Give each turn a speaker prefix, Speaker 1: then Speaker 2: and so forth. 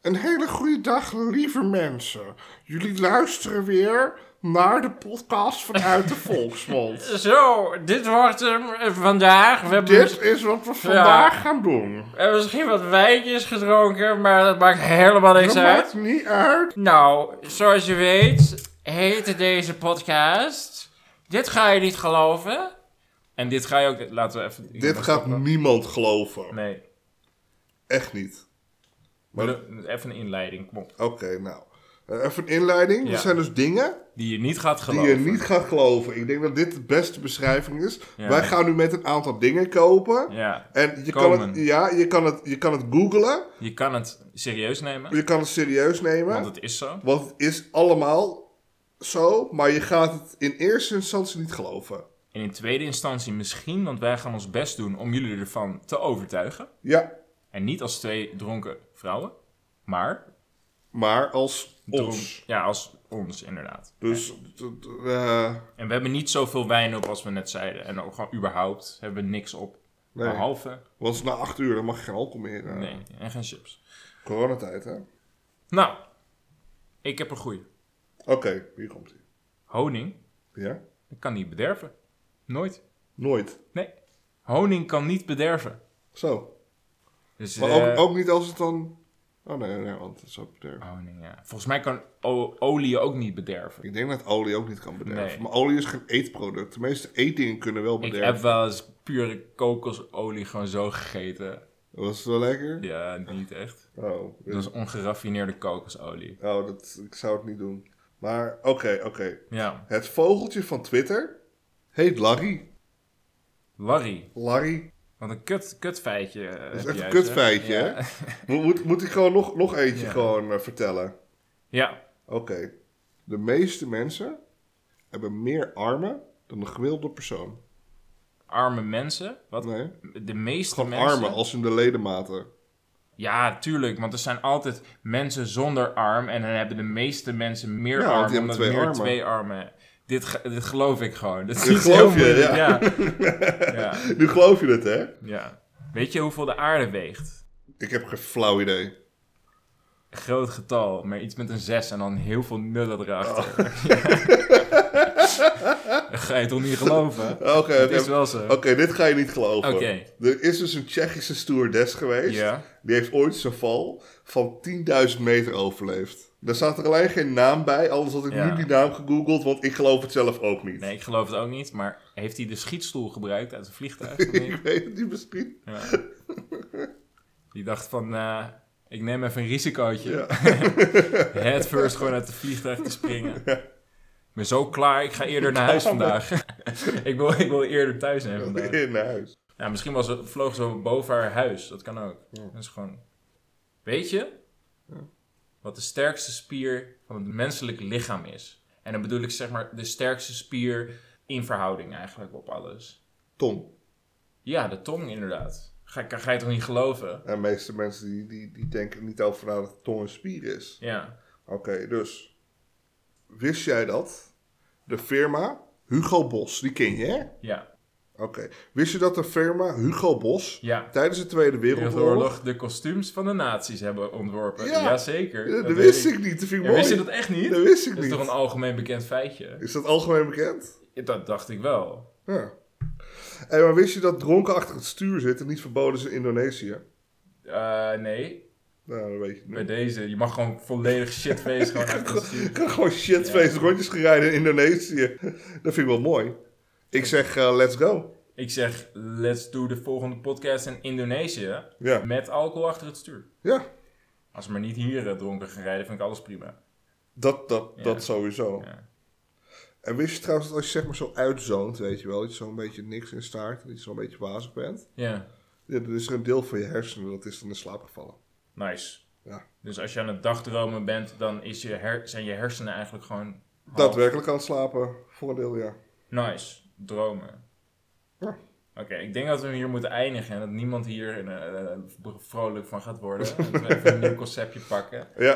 Speaker 1: Een hele goede dag, lieve mensen. Jullie luisteren weer naar de podcast vanuit de Volksmond.
Speaker 2: Zo, dit wordt hem eh, vandaag. We hebben
Speaker 1: Dit is wat we vandaag gaan doen.
Speaker 2: we hebben misschien wat wijntjes gedronken, maar dat maakt helemaal niks
Speaker 1: Dat
Speaker 2: uit.
Speaker 1: maakt niet uit.
Speaker 2: Nou, zoals je weet, heette deze podcast... Dit ga je niet geloven. En dit ga je ook... Laten we even...
Speaker 1: Dit gaat niemand geloven.
Speaker 2: Nee,
Speaker 1: Echt niet. Maar-
Speaker 2: Doe- even een inleiding, kom op.
Speaker 1: Oké, nou. Eh, even een inleiding.
Speaker 2: Ja.
Speaker 1: Er zijn dus dingen
Speaker 2: Die je niet gaat
Speaker 1: die
Speaker 2: geloven.
Speaker 1: je niet gaat geloven. Ik denk dat dit de beste beschrijving is.
Speaker 2: Ja.
Speaker 1: Wij gaan nu met een aantal dingen kopen.
Speaker 2: Ja,
Speaker 1: En je kan,
Speaker 2: Komen.
Speaker 1: het, ja, je, kan het, je kan het googlen,
Speaker 2: je kan het serieus nemen,
Speaker 1: je kan het serieus nemen.
Speaker 2: want het is zo.
Speaker 1: Want het is allemaal zo, maar je gaat het in eerste instantie niet geloven.
Speaker 2: En in tweede instantie misschien, want wij gaan ons best doen om jullie ervan te overtuigen.
Speaker 1: Ja,
Speaker 2: En niet als twee dronken vrouwen, maar
Speaker 1: maar als
Speaker 2: dronk-
Speaker 1: ons.
Speaker 2: ja, als ons inderdaad.
Speaker 1: Dus d- d- eh,
Speaker 2: En we hebben niet zoveel wijn op als we net zeiden. En ook gewoon überhaupt hebben we niks op.
Speaker 1: Nee.
Speaker 2: Behalve,
Speaker 1: want het is na acht uur, dan mag je geen alcohol meer. eh,
Speaker 2: nee, en geen chips.
Speaker 1: Coronatijd, hè? Oké,
Speaker 2: Nou, ik heb een goeie.
Speaker 1: hier komt ie.
Speaker 2: Honing,
Speaker 1: Ja?
Speaker 2: dat kan niet bederven. Nooit.
Speaker 1: Nooit.
Speaker 2: Nee, honing kan niet bederven.
Speaker 1: Zo.
Speaker 2: Dus,
Speaker 1: Maar ook,
Speaker 2: eh,
Speaker 1: ook niet als het dan... Oh nee, nee, want het is ook bederven.
Speaker 2: Honing, ja. Volgens mij kan o- olie ook niet bederven.
Speaker 1: Ik denk dat olie ook niet kan bederven.
Speaker 2: Nee.
Speaker 1: Maar olie is geen eetproduct. De meeste eetdingen kunnen wel
Speaker 2: Ik
Speaker 1: bederven.
Speaker 2: heb wel eens pure kokosolie gewoon zo gegeten.
Speaker 1: Was het wel lekker?
Speaker 2: Ja, niet echt.
Speaker 1: Oh,
Speaker 2: Dat is ongeraffineerde kokosolie.
Speaker 1: oh dat, ik zou het niet doen. Maar oké, oké.
Speaker 2: Ja,
Speaker 1: Het vogeltje van Twitter heet Larry.
Speaker 2: Larry.
Speaker 1: Larry.
Speaker 2: Wat een kut, kut feitje. eh,
Speaker 1: Dat is echt een kutfeitje, hè? Mo- Moet, moet ik gewoon nog, nog eentje
Speaker 2: Ja.
Speaker 1: gewoon eh, vertellen?
Speaker 2: Ja,
Speaker 1: Oké. De meeste mensen hebben meer armen dan de gemiddelde persoon.
Speaker 2: arme mensen. Wat?
Speaker 1: Nee.
Speaker 2: De meeste
Speaker 1: Gewoon
Speaker 2: mensen.
Speaker 1: armen, als in de ledematen.
Speaker 2: Ja, tuurlijk. Want er zijn altijd mensen zonder arm. En dan hebben de meeste mensen meer
Speaker 1: Ja, want die hebben
Speaker 2: armen. Omdat
Speaker 1: twee
Speaker 2: meer
Speaker 1: armen.
Speaker 2: twee armen. Dit, ge- dit geloof ik gewoon. Dit,
Speaker 1: Dit
Speaker 2: is heel
Speaker 1: geloof je,
Speaker 2: moeilijk,
Speaker 1: ja.
Speaker 2: Ja. ja.
Speaker 1: Nu geloof je het, hè?
Speaker 2: Ja. Weet je hoeveel de aarde weegt?
Speaker 1: Ik heb geen flauw idee.
Speaker 2: Een groot getal, maar iets met een 6 en dan heel veel nullen erachter. Ja. Dat ga je toch niet geloven?
Speaker 1: Oké,
Speaker 2: Het
Speaker 1: oké.
Speaker 2: is wel zo.
Speaker 1: Oké, dit ga je niet geloven.
Speaker 2: Oké.
Speaker 1: Er is dus een Tsjechische stewardess geweest.
Speaker 2: Ja.
Speaker 1: Die heeft ooit zo'n val van 10.000 meter overleefd. Daar staat er alleen geen naam bij, anders had ik
Speaker 2: Ja.
Speaker 1: nu die naam gegoogeld, want ik geloof het zelf ook niet.
Speaker 2: Nee, ik geloof het ook niet, maar heeft hij de schietstoel gebruikt uit een vliegtuig? of niet?
Speaker 1: Ik weet het niet misschien.
Speaker 2: Ja. Die dacht van, eh, ik neem even een risicootje.
Speaker 1: Ja.
Speaker 2: Head first gewoon uit het vliegtuig te springen. Ik ben zo klaar, ik ga eerder naar huis vandaag. ik, wil, ik wil eerder thuis zijn vandaag.
Speaker 1: In huis.
Speaker 2: Ja, misschien was ze, vloog ze wel boven haar huis. Dat kan ook. Dat is gewoon... Weet je wat de sterkste spier van het menselijk lichaam is? En dan bedoel ik zeg maar de sterkste spier in verhouding eigenlijk op alles.
Speaker 1: Tom.
Speaker 2: Ja, de tong inderdaad. Ga, kan- ga je toch niet geloven?
Speaker 1: En de meeste mensen die, die, die denken niet over na dat de tong een spier is.
Speaker 2: Ja.
Speaker 1: Oké, dus. Wist jij dat? De firma Hugo Bos, die ken je hè?
Speaker 2: Ja.
Speaker 1: Oké. Wist je dat de firma Hugo Bos
Speaker 2: Ja.
Speaker 1: tijdens de Tweede Wereldoorlog...
Speaker 2: Wereldoorlog de kostuums van de nazi's hebben ontworpen.
Speaker 1: Ja.
Speaker 2: Ja. Jazeker.
Speaker 1: Ja, dat
Speaker 2: weet
Speaker 1: wist ik niet. Dat vind ik
Speaker 2: Ja, wist je
Speaker 1: mooi.
Speaker 2: dat echt niet?
Speaker 1: Dat wist ik
Speaker 2: Dat is
Speaker 1: niet.
Speaker 2: toch een algemeen bekend feitje?
Speaker 1: Is dat algemeen bekend?
Speaker 2: Dat dacht ik wel.
Speaker 1: Ja. En maar wist je dat dronken achter het stuur zitten niet verboden is in Indonesië?
Speaker 2: Eh, nee,
Speaker 1: Nou, dat weet je
Speaker 2: Bij
Speaker 1: nu.
Speaker 2: deze, je mag gewoon volledig shitface gewoon uit het
Speaker 1: Ik
Speaker 2: stuur.
Speaker 1: kan gewoon shitface rondjes gaan rijden in Indonesië. Dat vind ik wel mooi. Ik zeg, eh, let's go.
Speaker 2: Ik zeg, let's do de volgende podcast in Indonesië.
Speaker 1: Ja.
Speaker 2: Met alcohol achter het stuur.
Speaker 1: Ja,
Speaker 2: Als we maar niet hier eh, dronken gaan rijden, vind ik alles prima.
Speaker 1: dat, dat,
Speaker 2: Ja.
Speaker 1: dat sowieso.
Speaker 2: Ja.
Speaker 1: En wist je trouwens dat als je zeg maar zo uitzoont, weet je wel, dat je zo'n beetje niks in staart, dat je zo'n beetje wazig bent,
Speaker 2: Ja,
Speaker 1: ja, dan is er een deel van je hersenen dat is dan in slaap gevallen.
Speaker 2: nice.
Speaker 1: Ja.
Speaker 2: Dus als je aan het dagdromen bent, dan is je her- zijn je hersenen eigenlijk gewoon half.
Speaker 1: Daadwerkelijk aan het slapen, voor een deel, ja.
Speaker 2: Nice, dromen.
Speaker 1: Ja.
Speaker 2: Oké, ik denk dat we hier moeten eindigen en dat niemand hier eh, eh, vrolijk van gaat worden. Dat we even een nieuw conceptje pakken.
Speaker 1: Ja,